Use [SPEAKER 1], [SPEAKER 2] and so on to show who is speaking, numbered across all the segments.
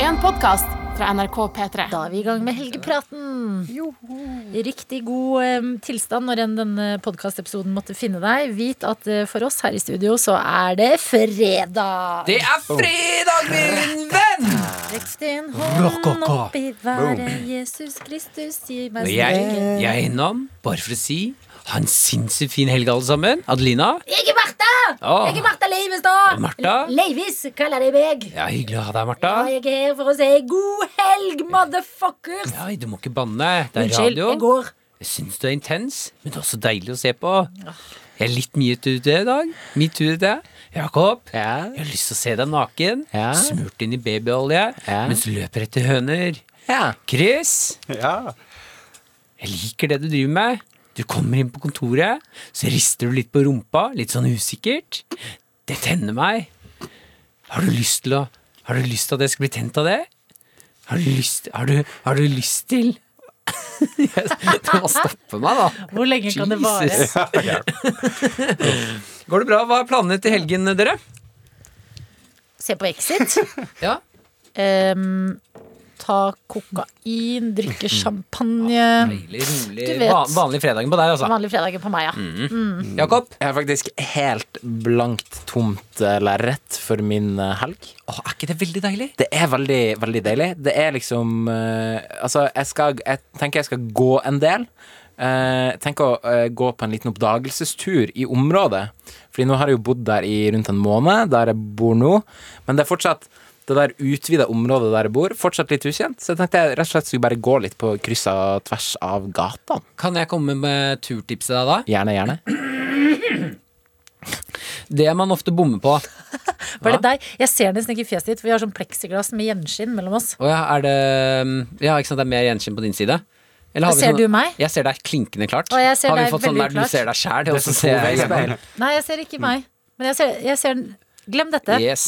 [SPEAKER 1] en podkast fra NRK P3.
[SPEAKER 2] Da er vi i gang med helgepraten. I Riktig god em, tilstand når enn denne podkastepisoden måtte finne deg. Vit at eh, for oss her i studio så er det fredag.
[SPEAKER 3] Det er fredag, min venn!
[SPEAKER 2] Rekk din hånd opp i været, Jesus Kristus, gi meg
[SPEAKER 3] Og jeg,
[SPEAKER 2] styrke.
[SPEAKER 3] jeg er innom, bare for å si ha en sinnssykt fin helg, alle sammen. Adelina.
[SPEAKER 2] Jeg er Martha!
[SPEAKER 3] Åh.
[SPEAKER 2] Jeg er Martha Leivestad!
[SPEAKER 3] Ah. Martha?
[SPEAKER 2] Leivis kaller de meg.
[SPEAKER 3] Ja, hyggelig å ha deg, Martha.
[SPEAKER 2] Og jeg er her for å si god helg, motherfuckers!
[SPEAKER 3] Ja, du må ikke banne. Det er
[SPEAKER 2] Unnskyld, jeg
[SPEAKER 3] radio.
[SPEAKER 2] går.
[SPEAKER 3] Jeg syns du er intens, men det er også deilig å se på. Jeg er litt mye ute i dag. Mitt ute. Jakob,
[SPEAKER 4] Ja.
[SPEAKER 3] jeg har lyst til å se deg naken.
[SPEAKER 4] Ja.
[SPEAKER 3] Smurt inn i babyolje
[SPEAKER 4] Ja.
[SPEAKER 3] mens du løper etter høner.
[SPEAKER 4] Ja.
[SPEAKER 3] Chris,
[SPEAKER 5] Ja.
[SPEAKER 3] jeg liker det du driver med. Du kommer inn på kontoret, så rister du litt på rumpa, litt sånn usikkert. Det tenner meg. Har du lyst til å Har du lyst til at jeg skal bli tent av det? Har du lyst Har du, har du lyst til Yes, Du må stoppe meg, da.
[SPEAKER 2] Hvor lenge kan det vare?
[SPEAKER 3] Jesus. Går det bra? Hva er planene til helgen, dere?
[SPEAKER 2] Se på Exit.
[SPEAKER 3] Ja.
[SPEAKER 2] Em, ta kokain, drikke champagne.
[SPEAKER 3] Deilig, rolig.
[SPEAKER 2] Du vet.
[SPEAKER 3] Van, vanlig fredagen på deg, altså.
[SPEAKER 2] Vanlig fredag på meg, ja.
[SPEAKER 3] Jakob?
[SPEAKER 4] Jeg har faktisk helt blankt tomt eh, lerret for min eh, helg.
[SPEAKER 3] Å, er ikke det veldig deilig?
[SPEAKER 4] Det er veldig, veldig deilig. Det er liksom eh, Altså, jeg, skal, jeg tenker jeg skal gå en del. Uh, tenk å eh, gå på en liten oppdagelsestur i området. Fordi nå har jeg jo bodd der i rundt en måned, der jeg bor nå. Men det er fortsatt det der utvida området der jeg bor, fortsatt litt ukjent. Så jeg tenkte jeg rett og slett skulle bare gå litt på kryss og tvers av gatene.
[SPEAKER 3] Kan jeg komme med turtips til deg, da?
[SPEAKER 4] Gjerne, gjerne.
[SPEAKER 3] Det man ofte bommer på. Å
[SPEAKER 2] Var det deg? Jeg ser nesten ikke fjeset ditt, for vi har sånn pleksiglass med gjenskinn mellom oss.
[SPEAKER 3] ja, er det mm, Ja, ikke sant, det er mer gjenskinn på din side? Eller sånn-
[SPEAKER 2] Ser du meg?
[SPEAKER 3] Jeg ser deg klinkende klart.
[SPEAKER 2] Å, jeg ser
[SPEAKER 3] har vi
[SPEAKER 2] deg
[SPEAKER 3] fått sånn
[SPEAKER 2] veldig
[SPEAKER 3] der du
[SPEAKER 2] klart.
[SPEAKER 3] ser deg sjæl?
[SPEAKER 4] Det er sånn toveispeil.
[SPEAKER 2] Nei, jeg ser ikke meg. Men jeg ser, jeg ser Glem dette.
[SPEAKER 3] Mm. Yes.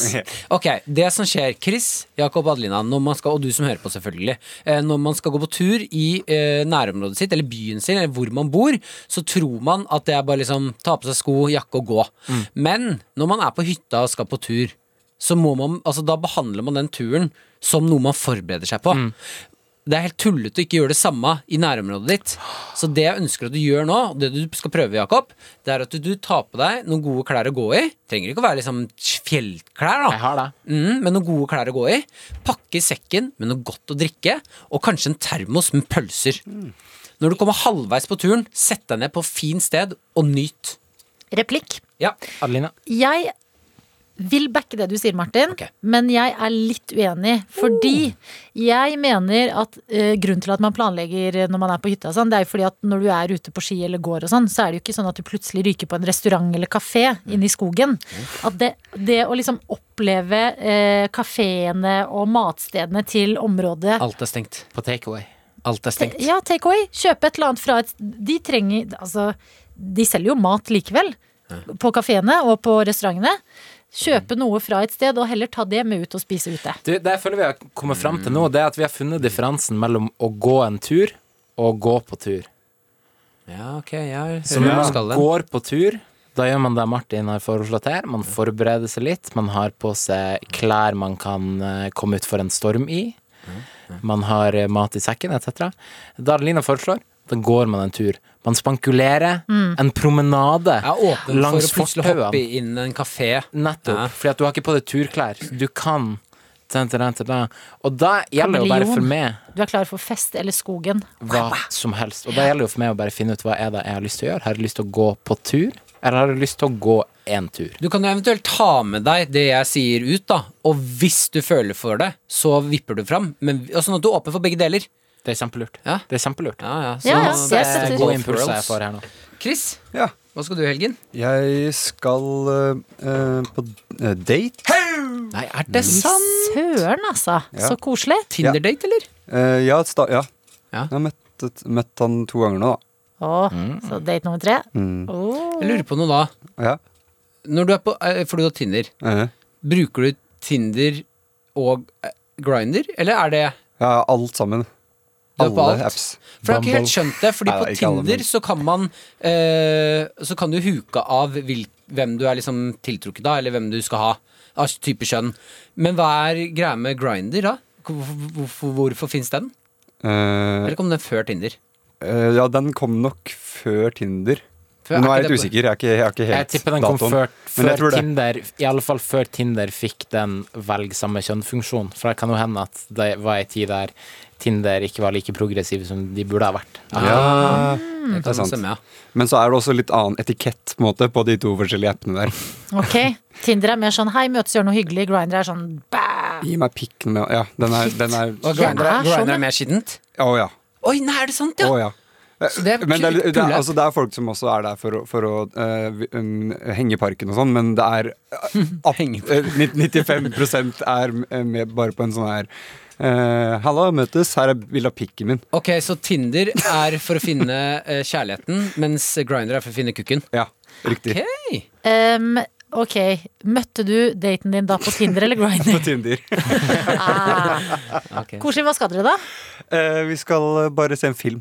[SPEAKER 3] Ok, det som skjer Chris, Jakob Adelina, når man skal, og du som hører på selvfølgelig eh, Når man skal gå på tur i eh, nærområdet sitt, eller byen sin, eller hvor man bor Så tror man at det er bare liksom ta på seg sko, jakke og gå Men når man er på hytta og skal på tur Så må man, altså da behandler man den turen som noe man forbereder seg på det er helt tullete å ikke gjøre det samme i nærområdet ditt. Så det jeg ønsker at du gjør nå, og det du skal prøve, Jakob, det er at du, du tar på deg noen gode klær å gå i. Trenger ikke å være liksom fjellklær, da.
[SPEAKER 4] Jeg har det.
[SPEAKER 3] Mm, med noen gode klær å gå i. Pakke sekken med noe godt å drikke, og kanskje en termos med pølser. Når du kommer halvveis på turen, sett deg ned på fint sted og nyt.
[SPEAKER 2] Replikk.
[SPEAKER 3] Ja.
[SPEAKER 4] Adelina.
[SPEAKER 2] Jeg vil backe det du sier, Martin,
[SPEAKER 3] Ok.
[SPEAKER 2] men jeg er litt uenig. Fordi jeg mener at eh, grunnen til at man planlegger når man er på hytta, og sånn, det er jo fordi at når du er ute på ski eller går og sånn, så er det jo ikke sånn at du plutselig ryker på en restaurant eller kafé inne i skogen. At det, det å liksom oppleve eh, kafeene og matstedene til området
[SPEAKER 3] Alt er stengt.
[SPEAKER 4] På takeaway.
[SPEAKER 3] Alt er stengt.
[SPEAKER 2] ja, take away. Kjøpe et eller annet fra et De trenger Altså, de selger jo mat likevel. På kafeene og på restaurantene. Kjøpe noe fra et sted, og heller ta det med ut og spise ute.
[SPEAKER 4] Du, det jeg føler vi har kommet fram til nå, det er at vi har funnet differansen mellom å gå en tur og gå på tur.
[SPEAKER 3] Ja, ok, jeg
[SPEAKER 4] Så når
[SPEAKER 3] hører du
[SPEAKER 4] man
[SPEAKER 3] skallen.
[SPEAKER 4] går på tur, da gjør man det Martin har foreslått her. Man forbereder seg litt. Man har på seg klær man kan eh, komme utfor en storm i. Man har eh, mat i sekken, etc. Da Adelina foreslår, da går man en tur. Man spankulerer. En promenade
[SPEAKER 3] Mm. Jeg er åpen for
[SPEAKER 4] langs
[SPEAKER 3] å plutselig hoppe
[SPEAKER 4] fortauene.
[SPEAKER 3] inn i en kafé.
[SPEAKER 4] Nettopp.
[SPEAKER 3] Ja.
[SPEAKER 4] Fordi at du har ikke på deg turklær. Du kan ta, ta, ta, ta. Og da gjelder det jo bare
[SPEAKER 2] Kameleon.
[SPEAKER 4] for meg
[SPEAKER 2] Du er klar for fest eller skogen.
[SPEAKER 4] hva som helst. Og da gjelder det jo for meg å bare finne ut hva er det jeg har lyst til å gjøre. Har jeg lyst til å gå på tur, eller har jeg lyst til å gå én tur?
[SPEAKER 3] Du kan jo eventuelt ta med deg det jeg sier ut, da. Og hvis du føler for det, så vipper du fram. Men, og sånn at du er åpen for begge deler.
[SPEAKER 4] Det er kjempelurt.
[SPEAKER 3] Ja.
[SPEAKER 4] Det er kjempelurt.
[SPEAKER 3] Ja, ja.
[SPEAKER 2] Ja, ja,
[SPEAKER 3] det
[SPEAKER 4] Det
[SPEAKER 2] jeg
[SPEAKER 3] er
[SPEAKER 2] setter-
[SPEAKER 4] er
[SPEAKER 3] go
[SPEAKER 4] gode
[SPEAKER 3] for
[SPEAKER 4] Eh, impulser jeg
[SPEAKER 3] girls.
[SPEAKER 4] får her nå.
[SPEAKER 3] Chris,
[SPEAKER 5] ja.
[SPEAKER 3] hva skal du i helgen?
[SPEAKER 5] Jeg skal eh, eh, på eh, date.
[SPEAKER 3] Nei, er det sant?
[SPEAKER 2] Søren, altså.
[SPEAKER 5] Ja.
[SPEAKER 2] Så koselig.
[SPEAKER 3] Tinder-date, eller?
[SPEAKER 5] Eh, ja, sta ja.
[SPEAKER 3] Ja.
[SPEAKER 5] Jeg har møtt, et- møtt han to ganger nå, da.
[SPEAKER 2] Å, så date nummer tre. Å.
[SPEAKER 3] Jeg lurer på noe da.
[SPEAKER 5] Ja.
[SPEAKER 3] Når du er på, eh, for du har Tinder,
[SPEAKER 5] Eh,
[SPEAKER 3] bruker du Tinder og eh, Grinder, eller er det
[SPEAKER 5] ja, alt sammen.
[SPEAKER 3] Du er på
[SPEAKER 5] Alle
[SPEAKER 3] alt?
[SPEAKER 5] apps.
[SPEAKER 3] For jeg har ikke helt
[SPEAKER 5] Bumble.
[SPEAKER 3] skjønt det, fordi
[SPEAKER 5] Nei,
[SPEAKER 3] på
[SPEAKER 5] ikke alle, men-
[SPEAKER 3] Tinder så kan man eh, Så kan du huke av hvil, hvem du er liksom tiltrukket av, eller hvem du skal ha. Av type kjønn. Men hva er greia med Grinder, da? Hvorfor- Hvorfor, hvorfor, hvorfor finnes den?
[SPEAKER 5] Eh,
[SPEAKER 3] Eller kom den før Tinder?
[SPEAKER 5] eh, ja, den kom nok før Tinder.
[SPEAKER 3] Før-
[SPEAKER 5] Men nå
[SPEAKER 3] er ikke
[SPEAKER 5] er jeg litt
[SPEAKER 3] det-
[SPEAKER 5] usikker. Jeg er ikke, jeg er ikke
[SPEAKER 4] Jeg
[SPEAKER 5] helt
[SPEAKER 4] tipper den kom
[SPEAKER 5] datoen.
[SPEAKER 4] før,
[SPEAKER 5] Men jeg
[SPEAKER 4] før
[SPEAKER 5] tror det.
[SPEAKER 4] Tinder, i alle fall før Tinder fikk den velg samme kjønn-funksjonen. For det kan jo hende at det var ei tid der Tinder ikke var like progressiv som de burde ha vært.
[SPEAKER 5] Ja,
[SPEAKER 3] Det
[SPEAKER 5] det er
[SPEAKER 3] kan
[SPEAKER 5] sant.
[SPEAKER 3] stemme, ja.
[SPEAKER 5] Men så er det også litt annen etikett på, en måte, på de to forskjellige appene der.
[SPEAKER 2] Ok, Tinder er mer sånn hei, møtes, gjør noe hyggelig. Grinder er sånn bæ!
[SPEAKER 5] Gi meg pikken med Ja, den er, den er
[SPEAKER 3] Og
[SPEAKER 5] Å
[SPEAKER 3] Grindr
[SPEAKER 2] Ja,
[SPEAKER 3] er,
[SPEAKER 2] sånn,
[SPEAKER 3] Grindr
[SPEAKER 2] ja.
[SPEAKER 3] er mer skittent?
[SPEAKER 5] ja.
[SPEAKER 3] Oi, nei, er det sant,
[SPEAKER 5] Å
[SPEAKER 3] ja?
[SPEAKER 5] ja.
[SPEAKER 3] Så det er
[SPEAKER 5] Men det er,
[SPEAKER 3] litt
[SPEAKER 5] det, er,
[SPEAKER 3] tullete.
[SPEAKER 5] altså, det er folk som også er der for å, for å eh, vi- um, henge i parken og sånn, men det er uh,
[SPEAKER 3] Henge
[SPEAKER 5] eh, nitt- 95 er eh, med bare på en sånn her eh, Halla, møtes, her er bilde av pikken min.
[SPEAKER 3] Ok, så Tinder er for å finne eh, kjærligheten, mens Grinder er for å finne kukken.
[SPEAKER 5] Ja, riktig.
[SPEAKER 3] Ok,
[SPEAKER 2] Ehm, ok, møtte du daten din da på Tinder eller Grinder?
[SPEAKER 5] På Tinder.
[SPEAKER 2] Ah.
[SPEAKER 3] Ok.
[SPEAKER 2] Koselig, hva skal dere da?
[SPEAKER 5] Eh, vi skal eh, bare se en film.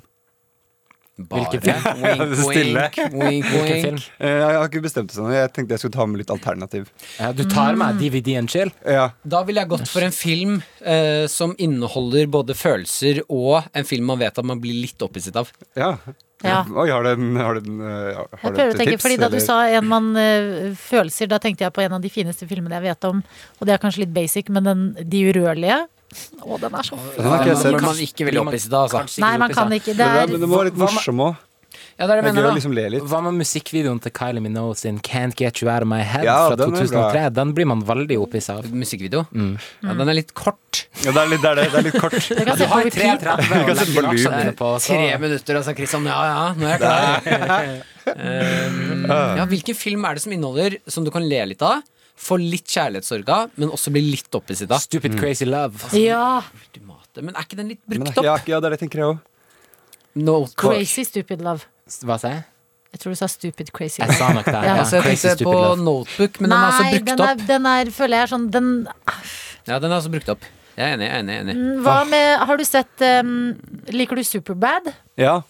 [SPEAKER 3] Bare
[SPEAKER 4] film?
[SPEAKER 5] Ja, det er stille.
[SPEAKER 3] wink, wink, wink,
[SPEAKER 4] Hvilken
[SPEAKER 3] wink.
[SPEAKER 4] film?
[SPEAKER 5] Eh, jeg har ikke bestemt meg, jeg tenkte jeg skulle ta med litt alternativ.
[SPEAKER 4] Ja, du tar
[SPEAKER 3] Mm.
[SPEAKER 4] med DVD-en chill?
[SPEAKER 5] Ja,
[SPEAKER 3] Da ville jeg gått for en film eh, som inneholder både følelser og en film man vet at man blir litt opphisset av.
[SPEAKER 5] ja.
[SPEAKER 2] Ja.
[SPEAKER 5] Oi, har du en, har du en, eh, har
[SPEAKER 2] Jeg
[SPEAKER 5] du
[SPEAKER 2] prøver
[SPEAKER 5] et
[SPEAKER 2] å tenke,
[SPEAKER 5] tips?
[SPEAKER 2] fordi Da du
[SPEAKER 5] eller?
[SPEAKER 2] sa en man eh, følelser, da tenkte jeg på en av de fineste filmene jeg vet om. Og det er kanskje litt basic, men den De urørlige. Å, den er så fin.
[SPEAKER 5] Den har ikke jeg
[SPEAKER 3] Men
[SPEAKER 5] sett.
[SPEAKER 3] man ikke veldig opphisset av, altså.
[SPEAKER 2] Nei, man kan ikke. Det
[SPEAKER 5] Men det, er-
[SPEAKER 2] er
[SPEAKER 5] men det må være litt
[SPEAKER 4] Hva- hva-
[SPEAKER 5] morsom òg.
[SPEAKER 3] Ja, det er det jeg
[SPEAKER 5] Det er gøy
[SPEAKER 3] mener,
[SPEAKER 5] å
[SPEAKER 3] da.
[SPEAKER 5] liksom le litt.
[SPEAKER 4] Hva med musikkvideoen til Kylie Minogue sin 'Can't Get You Out of My Head'
[SPEAKER 5] Ja,
[SPEAKER 4] fra
[SPEAKER 5] den er Mm.
[SPEAKER 4] 2003? Den blir man veldig opphissa av.
[SPEAKER 3] Musikkvideo. Ja, den er litt kort.
[SPEAKER 5] Ja, det er litt, det er, det, det er litt kort.
[SPEAKER 2] Jeg kan
[SPEAKER 3] Altså,
[SPEAKER 2] se på repeat.
[SPEAKER 5] kan sette på loop.
[SPEAKER 4] aksjene på. så-
[SPEAKER 3] Tre minutter, altså, Kristian. Ja, ja, nå er jeg klar. um, ja, hvilken film er det som inneholder, som du kan le litt av, få litt kjærlighetssorg av, men også bli litt opphisset av?
[SPEAKER 4] Stupid
[SPEAKER 5] Mm.
[SPEAKER 4] Crazy Love.
[SPEAKER 2] Ja.
[SPEAKER 3] Ultimate. Men er ikke den litt
[SPEAKER 5] Men det
[SPEAKER 3] brukt
[SPEAKER 5] er, ja,
[SPEAKER 3] opp?
[SPEAKER 5] ja, det er det jeg tenker jeg òg.
[SPEAKER 3] No,
[SPEAKER 2] Crazy Stupid Love.
[SPEAKER 4] Hva sa jeg?
[SPEAKER 2] Jeg tror du sa Stupid Crazy
[SPEAKER 4] Jeg
[SPEAKER 2] Love.
[SPEAKER 4] sa nok det.
[SPEAKER 2] Ja,
[SPEAKER 4] Ja,
[SPEAKER 3] altså, jeg
[SPEAKER 4] Crazy
[SPEAKER 3] tenkte
[SPEAKER 4] Stupid
[SPEAKER 3] på
[SPEAKER 4] Love.
[SPEAKER 3] Notebook, men den er altså
[SPEAKER 2] Nei,
[SPEAKER 3] brukt
[SPEAKER 2] den er,
[SPEAKER 3] opp.
[SPEAKER 2] den er, føler jeg er sånn den,
[SPEAKER 3] Ja, den er altså brukt opp. Jeg er enig, jeg er enig. Jeg er enig.
[SPEAKER 4] Mm.
[SPEAKER 5] Ah.
[SPEAKER 2] Hva med Har du sett um, Liker du Superbad?
[SPEAKER 5] Ja.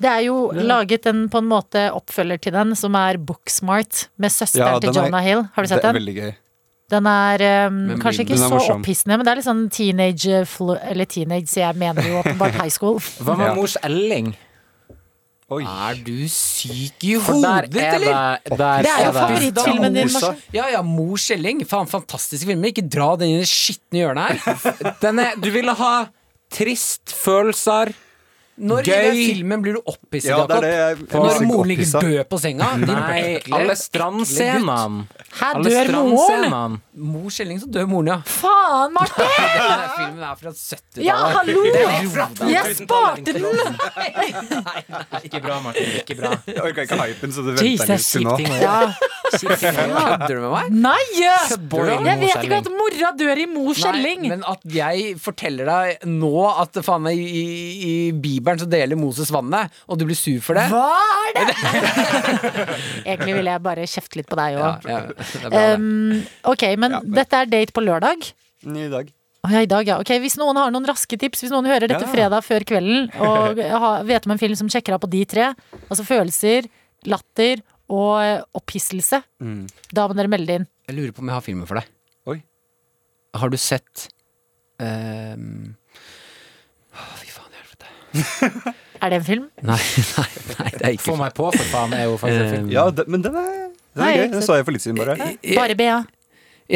[SPEAKER 2] Det er jo laget en på en måte oppfølger til den, som er Booksmart, med søsteren
[SPEAKER 5] Ja,
[SPEAKER 2] til
[SPEAKER 5] den er-
[SPEAKER 2] Jonah Hill. Har du
[SPEAKER 5] Det
[SPEAKER 2] sett
[SPEAKER 5] er
[SPEAKER 2] den?
[SPEAKER 5] veldig gøy.
[SPEAKER 2] Den er um,
[SPEAKER 3] Men
[SPEAKER 2] kanskje
[SPEAKER 3] blir-
[SPEAKER 2] ikke
[SPEAKER 5] den er
[SPEAKER 2] så
[SPEAKER 5] morsom.
[SPEAKER 2] opphissende, men det er litt sånn teenage flu, Eller teenage, så jeg mener jo åpenbart high school.
[SPEAKER 4] Hva med
[SPEAKER 5] Ja.
[SPEAKER 4] Mors Elling?
[SPEAKER 5] Oi.
[SPEAKER 3] Er du syk i
[SPEAKER 4] For der
[SPEAKER 3] hodet,
[SPEAKER 4] er
[SPEAKER 3] eller?
[SPEAKER 4] det der
[SPEAKER 2] Det er jo
[SPEAKER 4] er det-
[SPEAKER 2] favoritt. Favorittfilmen din,
[SPEAKER 5] Rosa.
[SPEAKER 2] Marcel.
[SPEAKER 3] Ja ja, Mor Skjelling. Faen, fantastiske filmer. Ikke dra den inn i det skitne hjørnet her.
[SPEAKER 4] Den er, du ville ha trist følelser
[SPEAKER 3] Når i den
[SPEAKER 4] Gøy.
[SPEAKER 3] filmen blir du opphisset,
[SPEAKER 5] Ja,
[SPEAKER 3] Jakob?
[SPEAKER 5] det er det jeg, jeg var
[SPEAKER 3] Når
[SPEAKER 5] sikkert
[SPEAKER 3] moren ligger
[SPEAKER 5] opphisset.
[SPEAKER 3] død på senga?
[SPEAKER 4] Nei, alle strandscenene.
[SPEAKER 2] Her
[SPEAKER 4] Alle
[SPEAKER 2] dør moren!
[SPEAKER 4] strandscenene.
[SPEAKER 3] Mor Skjelling, så dør moren, ja.
[SPEAKER 2] Faen, Martin!
[SPEAKER 3] Den filmen er fra 70-tallet.
[SPEAKER 2] Ja, hallo! Jeg sparte den!
[SPEAKER 4] Ikke bra, Martin. Ikke bra.
[SPEAKER 5] Jeg orka ikke hypen, så det
[SPEAKER 2] Jesus,
[SPEAKER 5] venta litt til nå.
[SPEAKER 4] Kjipt ting å
[SPEAKER 2] Ja.
[SPEAKER 3] Kødder du med meg?
[SPEAKER 2] Nei!
[SPEAKER 4] Boy,
[SPEAKER 2] Jeg
[SPEAKER 4] Mor
[SPEAKER 2] vet ikke
[SPEAKER 4] Skjelling.
[SPEAKER 2] at mora dør i Mo Skjelling!
[SPEAKER 3] Nei, men at jeg forteller deg nå at faen meg i, i, i Bibelen så deler Moses vannet, og du blir sur for det?
[SPEAKER 2] Hva er det?! Egentlig ville jeg bare kjefte litt på deg
[SPEAKER 3] Ja,
[SPEAKER 2] òg.
[SPEAKER 3] ja, det er bra, det.
[SPEAKER 2] ok, men dette er date på lørdag.
[SPEAKER 5] I dag.
[SPEAKER 2] Å Ah, ja, i dag, ja. Ok, Hvis noen har noen raske tips, hvis noen hører dette
[SPEAKER 5] Ja.
[SPEAKER 2] fredag før kvelden og har, vet om en film som sjekker av på de tre, altså følelser, latter og eh, opphisselse,
[SPEAKER 3] Mm.
[SPEAKER 2] da må dere melde inn.
[SPEAKER 3] Jeg lurer på om jeg har filmen for deg.
[SPEAKER 5] Oi.
[SPEAKER 3] Har du sett ehm, Å, Fy faen i helvete.
[SPEAKER 2] Er det en film?
[SPEAKER 3] Nei, nei, nei, det er ikke
[SPEAKER 4] Få meg på, for faen, er jo faktisk en film.
[SPEAKER 5] Ja, det, men den er, den
[SPEAKER 2] Nei,
[SPEAKER 5] er gøy.
[SPEAKER 2] jeg
[SPEAKER 5] Den
[SPEAKER 2] ser-
[SPEAKER 5] så jeg for litt siden, bare.
[SPEAKER 3] jeg,
[SPEAKER 2] Bare BA.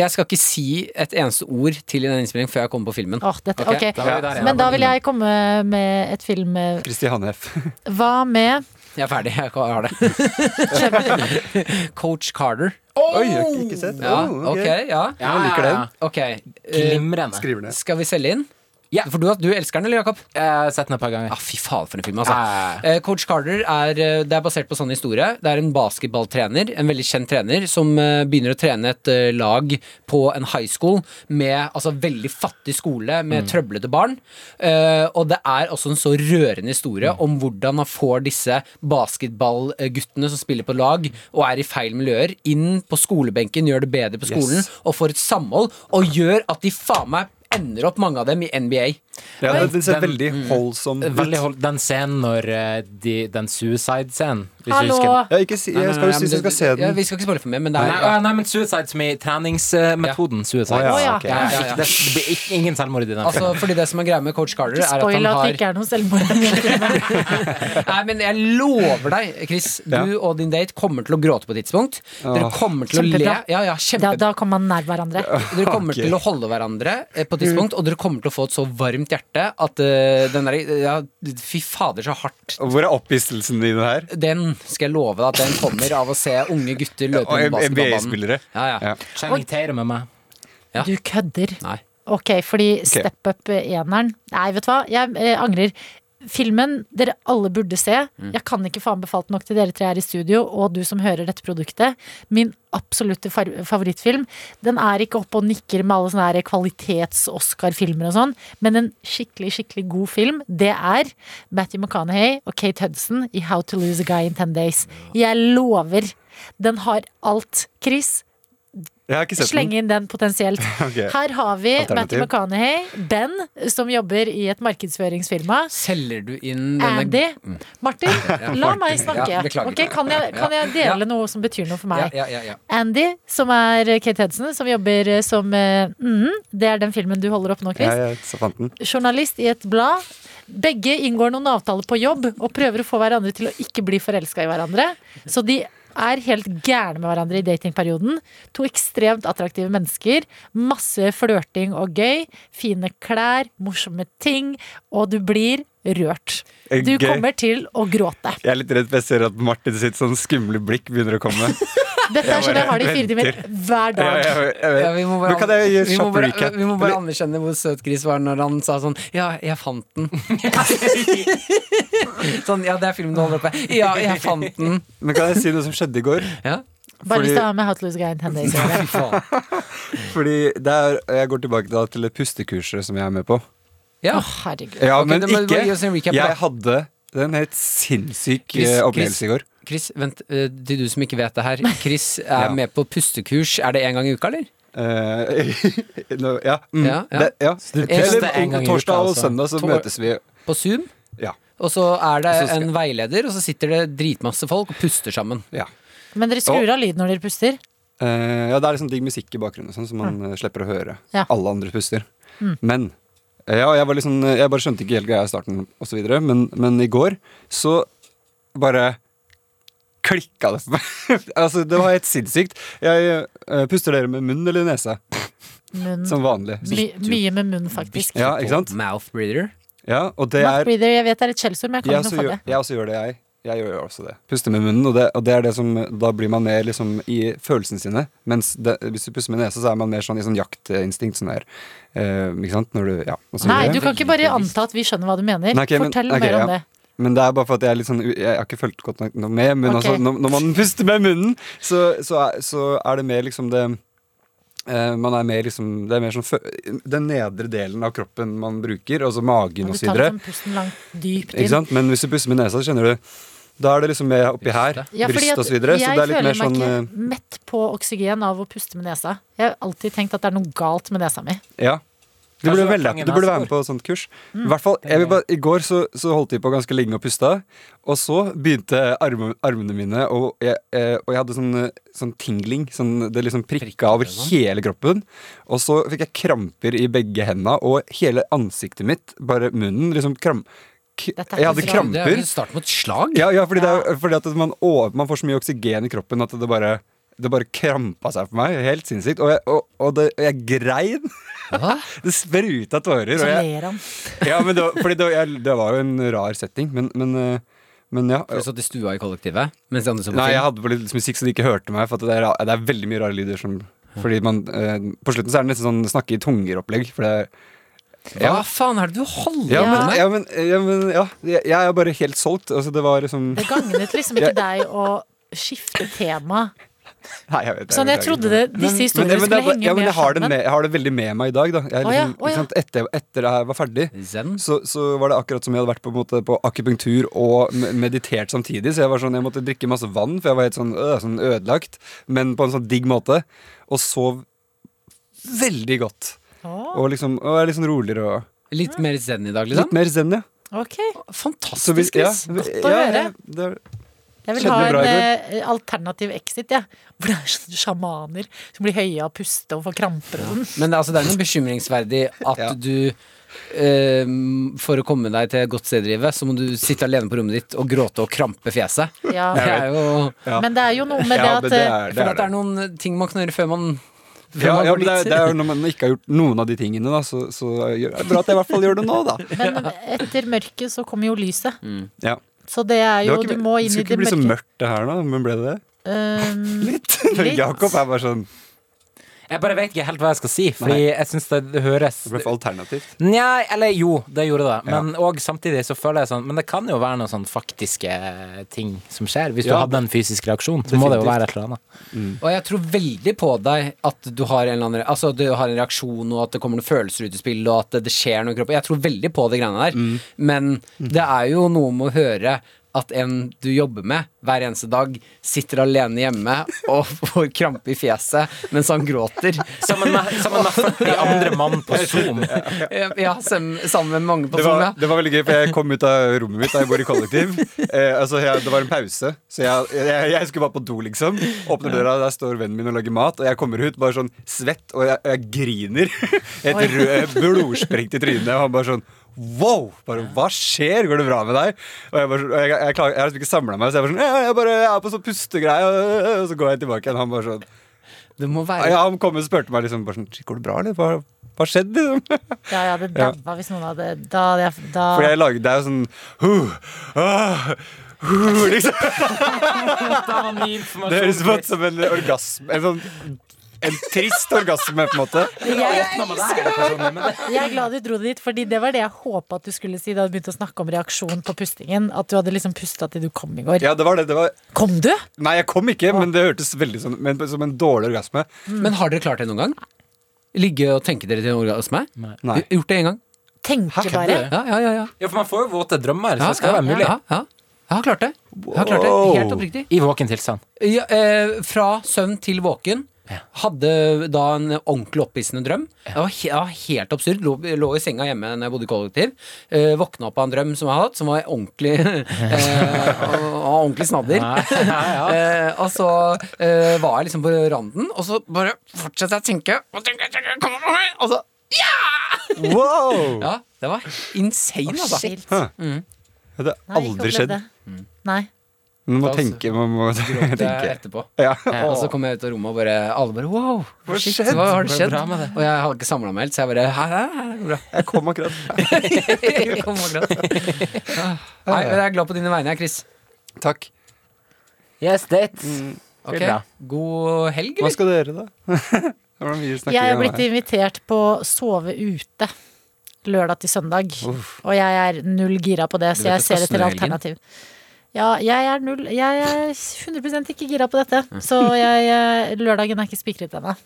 [SPEAKER 3] jeg skal ikke si et eneste ord til i den innspillingen før jeg kommer på filmen.
[SPEAKER 2] Åh, dette,
[SPEAKER 3] Ok,
[SPEAKER 2] ok.
[SPEAKER 4] da var vi der, ja.
[SPEAKER 2] Men da vil jeg komme med et film eh,
[SPEAKER 5] Kristiane F.
[SPEAKER 2] Hva med
[SPEAKER 3] Jeg er ferdig, jeg har det. Coach Carter.
[SPEAKER 5] Oi, jeg har ikke sett.
[SPEAKER 3] Ja,
[SPEAKER 5] Oh,
[SPEAKER 3] ok, ja.
[SPEAKER 4] Ja,
[SPEAKER 5] Jeg liker den.
[SPEAKER 4] ja, ja.
[SPEAKER 3] Ok. eh,
[SPEAKER 4] Glimrende.
[SPEAKER 5] Skriver ned.
[SPEAKER 3] skal vi selge inn?
[SPEAKER 4] Ja.
[SPEAKER 3] For du, du elsker den, eller, Jakob?
[SPEAKER 4] Jeg har sett den et par ganger.
[SPEAKER 3] Ja, Ah, fy faen for en film, altså.
[SPEAKER 5] Ah.
[SPEAKER 4] Ja,
[SPEAKER 3] Eh, Coach Carter er, eh, det er basert på sånn historie. Det er en basketballtrener, en veldig kjent trener, som eh, begynner å trene et eh, lag på en high school med altså veldig fattig skole, med
[SPEAKER 5] Mm.
[SPEAKER 3] trøblete barn. Eh, og det er også en så rørende historie
[SPEAKER 5] Mm.
[SPEAKER 3] om hvordan han får disse basketballguttene som spiller på lag og er i feil miljøer, inn på skolebenken, gjør det bedre på skolen,
[SPEAKER 5] Yes.
[SPEAKER 3] og får et samhold, og gjør at de faen meg ender opp mange av dem i NBA.
[SPEAKER 5] Ja, det, det ser
[SPEAKER 4] Den-
[SPEAKER 5] veldig holdsomt ut.
[SPEAKER 4] Veldig hold, den scenen når eh, de, Den suicide-scenen hvis du
[SPEAKER 2] Hallo!
[SPEAKER 4] husker den.
[SPEAKER 5] Ja, ikke si, jeg skal jo
[SPEAKER 3] Nei,
[SPEAKER 5] si
[SPEAKER 3] men
[SPEAKER 5] du skal
[SPEAKER 3] det-
[SPEAKER 5] se
[SPEAKER 3] Ja,
[SPEAKER 5] den.
[SPEAKER 3] vi skal ikke spoile for mye, men det
[SPEAKER 4] Nei,
[SPEAKER 3] er
[SPEAKER 4] å, nei, men suicide som i treningsmetoden. Suicide.
[SPEAKER 5] Å, ja,
[SPEAKER 2] Å, ja.
[SPEAKER 5] ok.
[SPEAKER 4] Ja,
[SPEAKER 3] Ja, ja,
[SPEAKER 4] ikke-
[SPEAKER 3] ja.
[SPEAKER 4] Det, det blir ikke, ingen selvmord i den
[SPEAKER 3] Altså,
[SPEAKER 4] filmen.
[SPEAKER 3] fordi det som er greia med coach Carter, er at
[SPEAKER 2] Spoil
[SPEAKER 3] han
[SPEAKER 2] at det
[SPEAKER 3] har
[SPEAKER 2] ikke er noe selvmord.
[SPEAKER 3] Nei, men jeg lover deg, Chris. Du
[SPEAKER 5] Ja.
[SPEAKER 3] og din date kommer til å gråte på et tidspunkt. Dere
[SPEAKER 5] Åh.
[SPEAKER 3] kommer til å le.
[SPEAKER 2] Kjempebra.
[SPEAKER 3] Ja, ja,
[SPEAKER 2] Da,
[SPEAKER 3] kjempe...
[SPEAKER 2] da kommer man nær hverandre.
[SPEAKER 3] Dere kommer
[SPEAKER 5] Ok.
[SPEAKER 3] til å holde hverandre eh, på et tidspunkt,
[SPEAKER 2] Mm.
[SPEAKER 3] og dere kommer til å få et så varmt hjerte at eh, den der ja, Fy fader, så hardt.
[SPEAKER 5] Hvor er opphistelsen i det her?
[SPEAKER 3] Den skal jeg love deg at den kommer av å se unge gutter løpe
[SPEAKER 5] Og
[SPEAKER 3] rundt basketballbanen.
[SPEAKER 5] NBA-spillere.
[SPEAKER 3] Ja, ja.
[SPEAKER 5] Ja.
[SPEAKER 4] Channing Tatum er med.
[SPEAKER 3] Ja.
[SPEAKER 2] Du kødder.
[SPEAKER 3] Nei.
[SPEAKER 2] Ok, fordi Step Up eh, eneren Nei, vet du hva? Jeg eh, angrer. Filmen dere alle burde se. Jeg kan ikke få anbefalt nok til dere tre her i studio og du som hører dette produktet. Min absolutte far- favorittfilm. Den er ikke oppe og nikker med alle sånne her kvalitets-Oscar-filmer og sånn, men en skikkelig, skikkelig god film, det er Matthew McConaughey og Kate Hudson i How to Lose a Guy in Ten Days. Jeg lover! Den har alt. Chris,
[SPEAKER 5] Jeg har ikke sett den.
[SPEAKER 2] Slenge inn den potensielt.
[SPEAKER 5] Ok.
[SPEAKER 2] Her har vi Matty
[SPEAKER 5] Alternativ.
[SPEAKER 2] McConaughey, Ben, som jobber i et markedsføringsfirma.
[SPEAKER 3] Selger du inn denne Mm.
[SPEAKER 2] Andy. Martin, la meg
[SPEAKER 3] Ja,
[SPEAKER 2] snakke.
[SPEAKER 3] beklager.
[SPEAKER 2] Ok, kan, jeg, kan jeg
[SPEAKER 3] Ja.
[SPEAKER 2] dele noe som betyr noe for
[SPEAKER 3] ja,
[SPEAKER 2] meg?
[SPEAKER 3] ja, ja, ja.
[SPEAKER 2] Andy, som er Kate Hedson, som jobber eh, som eh, mm, Det er den filmen du holder opp nå, Chris
[SPEAKER 5] Ja, jeg så fant den.
[SPEAKER 2] journalist i et blad. Begge inngår noen avtaler på jobb og prøver å få hverandre til å ikke bli forelska i hverandre. Så de er helt gærne med hverandre i datingperioden. To ekstremt attraktive mennesker. Masse flørting og gøy. Fine klær, morsomme ting. Og du blir rørt. Du
[SPEAKER 5] Gøy.
[SPEAKER 2] kommer til å gråte.
[SPEAKER 5] Jeg er litt redd for jeg ser at Martin sitt sånn skumle blikk begynner å komme.
[SPEAKER 2] Dette er sånn jeg har det i fire timer
[SPEAKER 5] venter.
[SPEAKER 2] hver
[SPEAKER 5] Ja,
[SPEAKER 2] dag.
[SPEAKER 5] jeg, jeg, vet.
[SPEAKER 3] Ja, vi må bare,
[SPEAKER 5] Eh, Men kan jeg
[SPEAKER 3] vi
[SPEAKER 5] gi
[SPEAKER 3] må
[SPEAKER 5] kjapp
[SPEAKER 3] bare,
[SPEAKER 5] recap?
[SPEAKER 3] vi må bare anerkjenne hvor søt Chris var når han sa sånn Ja, jeg fant den. sånn, ja, det er filmen du holder oppe. Ja, jeg fant den.
[SPEAKER 5] Men kan jeg si noe som skjedde i går?
[SPEAKER 3] Ja.
[SPEAKER 2] Bare hvis
[SPEAKER 5] fordi-
[SPEAKER 2] du har med How to Lose a Guy in Ten Days. å gjøre.
[SPEAKER 3] Fy faen.
[SPEAKER 5] Fordi det er, jeg går tilbake da til det pustekurset som jeg er med på.
[SPEAKER 3] Ja.
[SPEAKER 2] Å, herregud.
[SPEAKER 5] Ja,
[SPEAKER 3] Ok,
[SPEAKER 5] men
[SPEAKER 3] da må du
[SPEAKER 5] ikke
[SPEAKER 3] bare gi oss en recap, da.
[SPEAKER 5] Jeg hadde en helt sinnssyk
[SPEAKER 3] Chris,
[SPEAKER 5] eh,
[SPEAKER 3] Chris.
[SPEAKER 5] opplevelse i går.
[SPEAKER 3] Chris, vent, eh, til du som ikke vet det her. Chris er
[SPEAKER 5] Ja.
[SPEAKER 3] med på pustekurs. Er det én gang i uka, eller?
[SPEAKER 5] Eh, nå- ja, mm,
[SPEAKER 3] Ja, ja.
[SPEAKER 5] Det, ja.
[SPEAKER 4] du puster
[SPEAKER 5] Eller,
[SPEAKER 4] en gang i uka,
[SPEAKER 5] Torsdag og
[SPEAKER 4] altså.
[SPEAKER 5] søndag så
[SPEAKER 3] Tor-
[SPEAKER 5] møtes vi.
[SPEAKER 3] På Zoom.
[SPEAKER 5] Ja.
[SPEAKER 3] Og så er det
[SPEAKER 5] Og så skal-
[SPEAKER 3] en veileder, og så sitter det dritmasse folk og puster sammen.
[SPEAKER 5] ja.
[SPEAKER 2] Men dere skrur av lyden når dere puster.
[SPEAKER 5] Eh, ja, det er liksom digg musikk i bakgrunnen, og sånn, så man eh, slipper å høre
[SPEAKER 2] Mm. Ja. Mm.
[SPEAKER 5] alle andre puster. Men eh, ja, jeg, var liksom, eh, jeg bare skjønte ikke helt greia i starten, og så videre, men, men i går så bare klikka det for meg. altså, det var helt sinnssykt. Jeg eh, puster dere med munn eller nese,
[SPEAKER 2] Munn.
[SPEAKER 5] som vanlig.
[SPEAKER 2] Mm. My, mye med munn, faktisk.
[SPEAKER 5] Ja, ikke sant?
[SPEAKER 3] Mouth breather.
[SPEAKER 5] Ja, og det
[SPEAKER 2] Mouth
[SPEAKER 5] er
[SPEAKER 2] breather, jeg vet det er et skjellsord, men jeg kan
[SPEAKER 5] jeg også,
[SPEAKER 2] ikke noe for
[SPEAKER 5] gjør,
[SPEAKER 2] det.
[SPEAKER 5] jeg også gjør det, jeg. Jeg gjør jo også det. Puste med munnen, og det, og det er det som Da blir man mer liksom i følelsene sine. Mens det, hvis du puster med nesa, så er man mer sånn i sånn jaktinstinkt. Sånn der. Eh, ikke sant? Når du Ja. og så
[SPEAKER 2] Nei,
[SPEAKER 5] videre.
[SPEAKER 2] du kan ikke bare anta at vi skjønner hva du mener.
[SPEAKER 5] Nei, ok, men-
[SPEAKER 2] Fortell
[SPEAKER 5] ok,
[SPEAKER 2] mer om
[SPEAKER 5] ja.
[SPEAKER 2] det.
[SPEAKER 5] Men det er bare for at jeg er litt sånn u- Jeg har ikke fulgt godt nok noe med, men
[SPEAKER 2] Ok.
[SPEAKER 5] altså, når, når man puster med munnen, så, så, er, så er det mer liksom det eh, man er mer liksom Det er mer sånn fø- Den nedre delen av kroppen man bruker, altså magen
[SPEAKER 2] Når
[SPEAKER 5] og
[SPEAKER 2] du
[SPEAKER 5] så
[SPEAKER 2] tar
[SPEAKER 5] videre.
[SPEAKER 2] liksom pusten langt dypt
[SPEAKER 5] Ikke
[SPEAKER 2] inn.
[SPEAKER 5] sant? Men hvis du puster med nesa, så kjenner du Da er det liksom mer oppi her.
[SPEAKER 2] Ja, fordi
[SPEAKER 5] bryst
[SPEAKER 2] at
[SPEAKER 5] og så videre. Så
[SPEAKER 2] jeg
[SPEAKER 5] det er litt
[SPEAKER 2] føler
[SPEAKER 5] mer sånn
[SPEAKER 2] meg ikke mett på oksygen av å puste med nesa. Jeg har alltid tenkt at det er noe galt med nesa mi.
[SPEAKER 5] eh, Ja. Du
[SPEAKER 3] Altså,
[SPEAKER 4] Kanskje
[SPEAKER 5] burde,
[SPEAKER 4] du har
[SPEAKER 5] melde,
[SPEAKER 4] fanget
[SPEAKER 5] du burde være
[SPEAKER 4] nesebor.
[SPEAKER 5] med på sånt kurs.
[SPEAKER 2] Mm.
[SPEAKER 5] I hvert fall, jeg vil bare, I går så, så holdt de på ganske lenge og pusta, og så begynte arme, armene mine Og jeg, eh, og jeg hadde sånn, eh, sånn tingling. Sånn, det liksom prikka over
[SPEAKER 3] sånn.
[SPEAKER 5] hele kroppen. Og så fikk jeg kramper i begge henda og hele ansiktet mitt. Bare munnen. liksom kram... K
[SPEAKER 2] Dette er
[SPEAKER 5] jeg hadde
[SPEAKER 2] ikke bra.
[SPEAKER 3] Det er
[SPEAKER 5] kramper.
[SPEAKER 3] jo starten på et slag.
[SPEAKER 5] Ja, ja fordi, Det er, fordi at man, over, man får så mye oksygen i kroppen at det bare, det bare krampa seg for meg. Helt sinnssykt. Og jeg, og, og det, og jeg grein.
[SPEAKER 3] Hva?
[SPEAKER 5] Det spruta tårer.
[SPEAKER 2] Så
[SPEAKER 5] Og jeg,
[SPEAKER 2] ler han.
[SPEAKER 5] ja, men det, var- fordi det, var- jeg, det var jo en rar setting, men, men, eh, men ja.
[SPEAKER 3] Du satt i stua i kollektivet mens de andre så på
[SPEAKER 5] Nei, jeg
[SPEAKER 3] film.
[SPEAKER 5] hadde på litt musikk så de ikke hørte meg, for at det, er, ra- det er veldig mye rare lyder som fordi man, eh, På slutten så er det nesten sånn snakke i tunger-opplegg. For det er
[SPEAKER 3] Hva faen er det du holder
[SPEAKER 5] ja,
[SPEAKER 3] på
[SPEAKER 5] men,
[SPEAKER 3] med?
[SPEAKER 5] ja, men, ja, men ja, jeg, jeg er bare helt solgt. Altså, det var liksom
[SPEAKER 2] Det gagnet liksom ikke deg å skifte tema.
[SPEAKER 5] Nei, jeg vet det,
[SPEAKER 2] Sånn, jeg
[SPEAKER 5] beklager.
[SPEAKER 2] trodde det, disse
[SPEAKER 5] Men,
[SPEAKER 2] historiene
[SPEAKER 5] men, det
[SPEAKER 2] skulle
[SPEAKER 5] er bare-
[SPEAKER 2] henge
[SPEAKER 5] ja, men
[SPEAKER 2] mer
[SPEAKER 5] jeg, har det
[SPEAKER 2] sammen.
[SPEAKER 5] med, jeg har det veldig med meg i dag. Da.
[SPEAKER 2] Å ja,
[SPEAKER 5] Jeg, liksom,
[SPEAKER 2] å ja.
[SPEAKER 5] Ikke sant? Etter, etter jeg var ferdig,
[SPEAKER 3] Zen.
[SPEAKER 5] så, så var det akkurat som jeg hadde vært på, en måte, på akupunktur og me- meditert samtidig. Så jeg, var sånn, jeg måtte drikke masse vann, for jeg var helt sånn, øh, sånn ødelagt. Men på en sånn digg måte. Og sov veldig godt.
[SPEAKER 2] Å,
[SPEAKER 5] Og liksom og er litt sånn roligere og
[SPEAKER 3] Litt mer zen i dag,
[SPEAKER 5] Litt
[SPEAKER 3] liksom?
[SPEAKER 5] mer zen, ja.
[SPEAKER 2] Ok.
[SPEAKER 5] Så vi-
[SPEAKER 3] Fantastisk,
[SPEAKER 5] ja,
[SPEAKER 3] Chris.
[SPEAKER 5] vi-
[SPEAKER 2] Godt å
[SPEAKER 5] ja,
[SPEAKER 2] høre.
[SPEAKER 5] ja, det er-
[SPEAKER 2] Jeg vil ha
[SPEAKER 5] Skjedde noe bra
[SPEAKER 2] en
[SPEAKER 5] i
[SPEAKER 2] eh, alternativ exit, jeg. Ja. Hvor det er sånne sjamaner som blir høye av puste og får kramper og sånn.
[SPEAKER 3] Men det, er altså, det er noe bekymringsverdig at
[SPEAKER 5] Ja.
[SPEAKER 3] du ehm, For å komme deg til et godt sted i livet, så må du sitte alene på rommet ditt og gråte og krampe fjeset.
[SPEAKER 2] Ja.
[SPEAKER 3] Det er jo
[SPEAKER 5] Ja.
[SPEAKER 2] Men det er jo noe med det
[SPEAKER 5] Ja, men
[SPEAKER 2] at eh,
[SPEAKER 3] Jeg føler at det er noen ting man kan gjøre før man før
[SPEAKER 5] Ja,
[SPEAKER 3] man
[SPEAKER 5] ja
[SPEAKER 3] går
[SPEAKER 5] men det er,
[SPEAKER 3] dit.
[SPEAKER 5] det er jo når man ikke har gjort noen av de tingene, da, så, så gjør- det er bra at jeg i hvert fall gjør det nå, da.
[SPEAKER 2] Men etter mørket så kommer jo lyset.
[SPEAKER 5] Ja.
[SPEAKER 2] Så det er
[SPEAKER 5] Det
[SPEAKER 2] jo
[SPEAKER 5] var ikke-
[SPEAKER 2] Du må inn i
[SPEAKER 5] skulle
[SPEAKER 2] det
[SPEAKER 5] ikke bli så
[SPEAKER 2] mørke.
[SPEAKER 5] mørkt det her, da, men ble det det?
[SPEAKER 2] Um,
[SPEAKER 5] Litt.
[SPEAKER 2] Litt.
[SPEAKER 5] Jakob er bare sånn
[SPEAKER 4] Jeg bare vet ikke helt hva jeg skal si, fordi jeg syns det, det høres
[SPEAKER 5] Det ble for alternativt.
[SPEAKER 4] Nja, eller jo, det gjorde det. Men og samtidig så føler jeg sånn Men det kan jo være noen sånn faktiske eh, ting som skjer. Hvis du
[SPEAKER 5] Ja.
[SPEAKER 4] hadde en fysisk reaksjon, så må det jo
[SPEAKER 5] Definitivt.
[SPEAKER 4] være et eller annet.
[SPEAKER 3] Og jeg tror veldig på deg at du har en, eller annen, altså, at du har en reaksjon, og at det kommer noen følelser ut i spill, og at det, det skjer noe i kroppen. Jeg tror veldig på de greiene der.
[SPEAKER 5] Mm.
[SPEAKER 3] Men det er jo noe med å høre at en du jobber med hver eneste dag, sitter alene hjemme og får krampe i fjeset mens han gråter.
[SPEAKER 4] Sammen med, sammen med 40 andre mann på Zoom.
[SPEAKER 3] Ja, sam- sammen med mange på
[SPEAKER 5] Det
[SPEAKER 3] Zoom,
[SPEAKER 5] var,
[SPEAKER 3] ja.
[SPEAKER 5] det var veldig gøy, for jeg kom ut av rommet mitt da jeg bor i kollektiv. Eh, altså, jeg, det var en pause, så jeg, jeg, jeg skulle bare på do, liksom. Åpner døra, der står vennen min og lager mat, og jeg kommer ut bare sånn svett, og jeg, jeg griner. Et rød, blodsprengt i trynet, og han bare sånn Wow! Bare, Hva skjer? Går det bra med deg? Og jeg, bare, sånn- og jeg, jeg, klarer, jeg har liksom ikke samla meg, så jeg bare sånn «Ja, Jeg, bare, jeg er på sånn pustegreie, og så går jeg tilbake igjen. Han bare sånn
[SPEAKER 3] Det må være
[SPEAKER 5] ja, Han kom og spurte meg liksom bare sånn Går det bra, eller? Hva, hva skjedde? Liksom?
[SPEAKER 2] ja, jeg hadde
[SPEAKER 5] Ja.
[SPEAKER 2] daua hvis noen hadde Da hadde jeg da,
[SPEAKER 5] For jeg lager, det er jo sånn huh, ah, huh, liksom. Det høres ut som en orgasme En sånn en trist orgasme, på en måte.
[SPEAKER 2] Jeg er glad du dro det dit, Fordi det var det jeg håpa at du skulle si da du begynte å snakke om reaksjon på pustingen. At du hadde liksom pusta til du kom i går.
[SPEAKER 5] Ja, det var det. det var,
[SPEAKER 2] Kom du?
[SPEAKER 5] nei, jeg kom ikke, men det hørtes veldig sånn men, som en dårlig orgasme.
[SPEAKER 3] Men har dere klart det noen gang? Ligge og tenke dere til en orgasme?
[SPEAKER 5] Nei.
[SPEAKER 3] Gjort det én gang?
[SPEAKER 2] Tenker bare.
[SPEAKER 3] Ja, ja, ja, ja.
[SPEAKER 4] Ja, for man får jo våte drømmer, så
[SPEAKER 3] Ja,
[SPEAKER 4] det skal
[SPEAKER 3] ja,
[SPEAKER 4] være mulig.
[SPEAKER 3] Ja, ja. Jeg har klart det. Jeg har klart det, Helt
[SPEAKER 5] Wow.
[SPEAKER 3] oppriktig.
[SPEAKER 4] I våken tilstand.
[SPEAKER 3] Ja, eh, fra søvn til våken.
[SPEAKER 4] Ja.
[SPEAKER 3] Hadde da en ordentlig opphissende drøm. Det var, he ja, helt absurd. Lå, lå i senga hjemme når jeg bodde i kollektiv. Eh, våkna opp av en drøm som jeg hadde hatt, som var ordentlig eh, og, og ordentlig snadder. eh, og så eh, var jeg liksom på randen, og så bare fortsatte jeg å tenke. Og, tenke, tenke kom på meg, og så
[SPEAKER 5] Wow!
[SPEAKER 3] Ja, det var insane, altså.
[SPEAKER 2] Shit.
[SPEAKER 5] Huh. Det har
[SPEAKER 2] Nei, ikke
[SPEAKER 5] aldri
[SPEAKER 2] opplevd
[SPEAKER 5] skjedd.
[SPEAKER 2] det. Nei.
[SPEAKER 5] Man må
[SPEAKER 3] Da
[SPEAKER 5] tenke, man må
[SPEAKER 3] Det er
[SPEAKER 5] tenke.
[SPEAKER 3] etterpå.
[SPEAKER 5] Ja.
[SPEAKER 3] Eh, Og så kom jeg ut av rommet, og bare, alle bare wow.
[SPEAKER 5] Hva
[SPEAKER 3] shit,
[SPEAKER 5] skjedde?
[SPEAKER 3] Hva har det
[SPEAKER 4] Går det
[SPEAKER 3] skjedd?
[SPEAKER 4] bra med det?
[SPEAKER 3] Og jeg har ikke samla meg helt, så jeg bare hæ, hæ, hæ, det går bra.
[SPEAKER 5] Jeg kom akkurat.
[SPEAKER 3] Jeg kom akkurat. Ah. Nei, men jeg er glad på dine vegne, jeg, Chris.
[SPEAKER 5] Takk.
[SPEAKER 4] Yes, dates.
[SPEAKER 3] Ok,
[SPEAKER 4] Blir bra.
[SPEAKER 3] God helg,
[SPEAKER 5] Hva
[SPEAKER 3] eller?
[SPEAKER 5] skal dere, da? Det var mye snakking
[SPEAKER 2] Jeg er
[SPEAKER 5] om
[SPEAKER 2] blitt
[SPEAKER 5] her.
[SPEAKER 2] invitert på sove ute lørdag til søndag. Og jeg er null gira på det,
[SPEAKER 3] Du
[SPEAKER 2] så
[SPEAKER 3] vet
[SPEAKER 2] jeg
[SPEAKER 3] det skal
[SPEAKER 2] ser etter
[SPEAKER 3] snø i helgen.
[SPEAKER 2] alternativ. Ja, jeg er null Jeg er 100 ikke gira på dette. Så jeg, eh, lørdagen er ikke spikret ennå.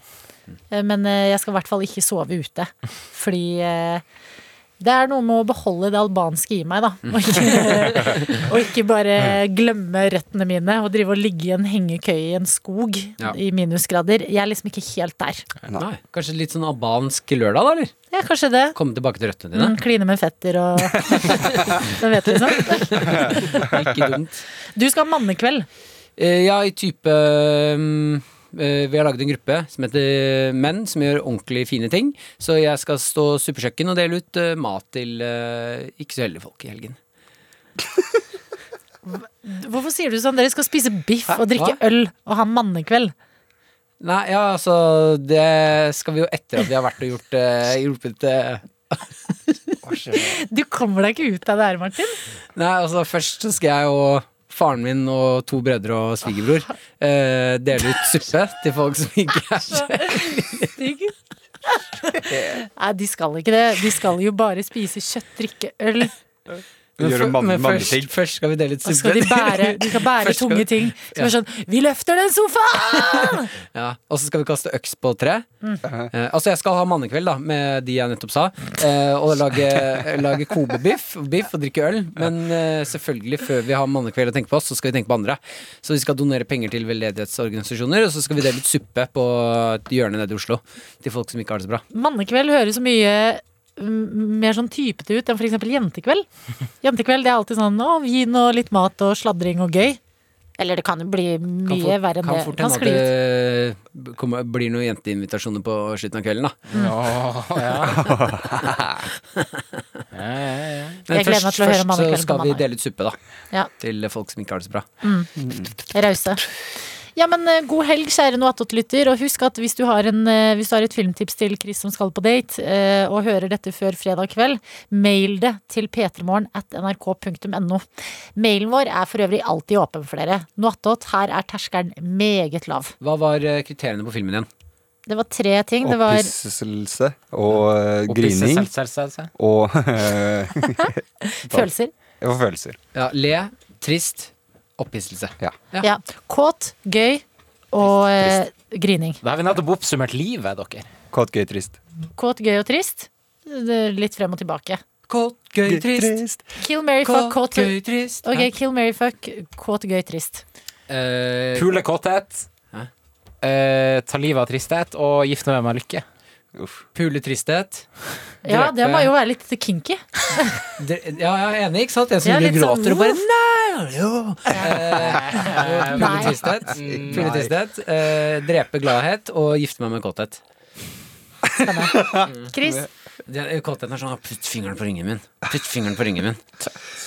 [SPEAKER 2] Eh, Men eh, jeg skal i hvert fall ikke sove ute. Fordi eh, det er noe med å beholde det albanske i meg, da. Og ikke, og ikke bare glemme røttene mine og drive og ligge i en hengekøye i en skog
[SPEAKER 3] Ja.
[SPEAKER 2] i minusgrader. Jeg er liksom ikke helt der.
[SPEAKER 3] Nei, kanskje litt sånn albansk lørdag, da? eller?
[SPEAKER 2] Ja, kanskje det.
[SPEAKER 3] Komme tilbake til røttene dine.
[SPEAKER 2] Mm, kline med fetter og Hvem vet, liksom.
[SPEAKER 3] Det er Ikke dumt.
[SPEAKER 2] Du skal ha mannekveld.
[SPEAKER 3] Eh, Ja, i type mm, eh, vi har laget en gruppe som heter Menn, som gjør ordentlig fine ting. Så jeg skal stå suppekjøkken og dele ut eh, mat til eh, ikke så heldige folk i helgen.
[SPEAKER 2] Hvorfor sier du sånn? Dere skal spise biff
[SPEAKER 3] Hæ?
[SPEAKER 2] og drikke
[SPEAKER 3] Hva?
[SPEAKER 2] øl og ha mannekveld.
[SPEAKER 3] Nei, ja, altså Det skal vi jo etter at vi har vært og gjort eh, hjulpet eh,
[SPEAKER 2] Du kommer deg ikke ut av det her, Martin.
[SPEAKER 3] Nei, altså først så skal jeg og faren min og to brødre og svigerbror eh, dele ut suppe til folk som ikke er
[SPEAKER 2] Stygg. Nei, de skal ikke det. De skal jo bare spise kjøtt, drikke øl.
[SPEAKER 5] Gjøre
[SPEAKER 3] Men fø-
[SPEAKER 5] mann-
[SPEAKER 3] men først,
[SPEAKER 5] manneting.
[SPEAKER 3] først skal vi dele ut
[SPEAKER 2] Og
[SPEAKER 3] suppe.
[SPEAKER 2] skal de bære, de skal bære
[SPEAKER 3] Først skal-
[SPEAKER 2] tunge ting. Som er sånn Vi løfter den sofaen!
[SPEAKER 3] Ja, og så skal vi kaste øks på tre. Eh, altså, jeg skal ha mannekveld da med de jeg nettopp sa, eh, og lage, lage kobebiff biff og drikke øl. Men eh, selvfølgelig, før vi har mannekveld å tenke på oss, så skal vi tenke på andre. Så vi skal donere penger til veldedighetsorganisasjoner, og så skal vi dele ut suppe på et hjørne nede i Oslo til folk som ikke har det så bra.
[SPEAKER 2] Mannekveld høres så mye mm, mer sånn typete ut enn f.eks. jentekveld. Jentekveld det er alltid sånn å, vin og litt mat og sladring og gøy. Eller det kan jo bli mye
[SPEAKER 3] fort-
[SPEAKER 2] verre enn
[SPEAKER 3] kan
[SPEAKER 2] det.
[SPEAKER 3] fort
[SPEAKER 2] Kan
[SPEAKER 3] hende at
[SPEAKER 2] skli ut.
[SPEAKER 3] det kommer, blir noen jenteinvitasjoner på slutten av kvelden, da.
[SPEAKER 4] Ja, ja, ja.
[SPEAKER 3] Men
[SPEAKER 2] Jeg gleder meg
[SPEAKER 3] først,
[SPEAKER 2] til å høre
[SPEAKER 3] først
[SPEAKER 2] om
[SPEAKER 3] så
[SPEAKER 2] alle kvelden på
[SPEAKER 3] skal vi
[SPEAKER 2] mandag.
[SPEAKER 3] dele ut suppe, da.
[SPEAKER 2] Ja.
[SPEAKER 3] Til folk som ikke har det så bra.
[SPEAKER 2] Rause. Ja, men eh, god helg, kjære Noatot-lytter. Og husk at hvis du, har en, eh, hvis du har et filmtips til Chris som skal på date, eh, og hører dette før fredag kveld, mail det til p3morgen at nrk.no. Mailen vår er for øvrig alltid åpen for dere. Noatot, her er terskelen meget lav.
[SPEAKER 3] Hva var eh, kriteriene på filmen igjen?
[SPEAKER 2] Det var tre ting. Det var
[SPEAKER 5] Opphisselse og eh, grining
[SPEAKER 4] Opphisse, selv, selv, selv, selv.
[SPEAKER 5] og Det
[SPEAKER 2] følelser.
[SPEAKER 5] var følelser.
[SPEAKER 3] Ja, le, trist, opphisselse.
[SPEAKER 5] Ja.
[SPEAKER 3] Ja.
[SPEAKER 2] Ja. Kåt, gøy og eh, grining.
[SPEAKER 4] Da har vi nettopp oppsummert livet, dere.
[SPEAKER 5] Kåt, gøy, trist.
[SPEAKER 2] Kåt, gøy og trist. Det er Litt frem og tilbake.
[SPEAKER 3] Kåt, gøy, trist.
[SPEAKER 5] trist.
[SPEAKER 2] Kill Mary, fuck,
[SPEAKER 3] Kåt,
[SPEAKER 2] kåt.
[SPEAKER 3] gøy, trist.
[SPEAKER 2] Ok, kill Mary, fuck, kåt, gøy, trist.
[SPEAKER 3] Eh,
[SPEAKER 4] Pule kåthet.
[SPEAKER 3] Hæ?
[SPEAKER 4] Eh, ta livet av tristhet og gifte meg med lykke.
[SPEAKER 5] Uff.
[SPEAKER 3] pule tristhet.
[SPEAKER 2] Ja,
[SPEAKER 3] Drepe-
[SPEAKER 2] det må jo være litt kinky.
[SPEAKER 3] Dre- Ja, jeg er enig, ikke sant? Jeg som
[SPEAKER 2] Ja,
[SPEAKER 3] ligger
[SPEAKER 2] litt
[SPEAKER 3] og
[SPEAKER 2] sånn,
[SPEAKER 3] gråter og bare Nei! Jo! Eh, Pule
[SPEAKER 2] Nei.
[SPEAKER 3] tristhet. Pule tristhet. eh, Drepe gladhet og gifte meg med kåthet.
[SPEAKER 2] Chris,
[SPEAKER 3] Det, kåtheten er sånn Putt fingeren på ringen min. Putt fingeren på ringen min.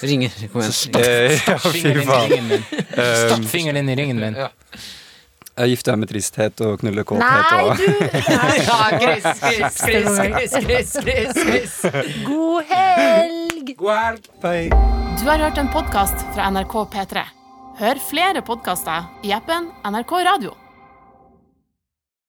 [SPEAKER 3] Ringer. Kom igjen.
[SPEAKER 5] Eh, ja, fy
[SPEAKER 4] Fingeren inn i
[SPEAKER 5] faen.
[SPEAKER 4] ringen min. Stapp fingeren inn i ringen min.
[SPEAKER 3] Ja.
[SPEAKER 5] Jeg gifter meg med tristhet og knuller kåthet
[SPEAKER 2] nei,
[SPEAKER 5] og
[SPEAKER 2] du
[SPEAKER 3] Ja, Chris, Chris, Chris, Chris, Chris, Chris, Chris.
[SPEAKER 2] God helg!
[SPEAKER 5] God helg! Bye.
[SPEAKER 1] Du har hørt en podkast fra NRK P3. Hør flere podkaster i appen NRK Radio.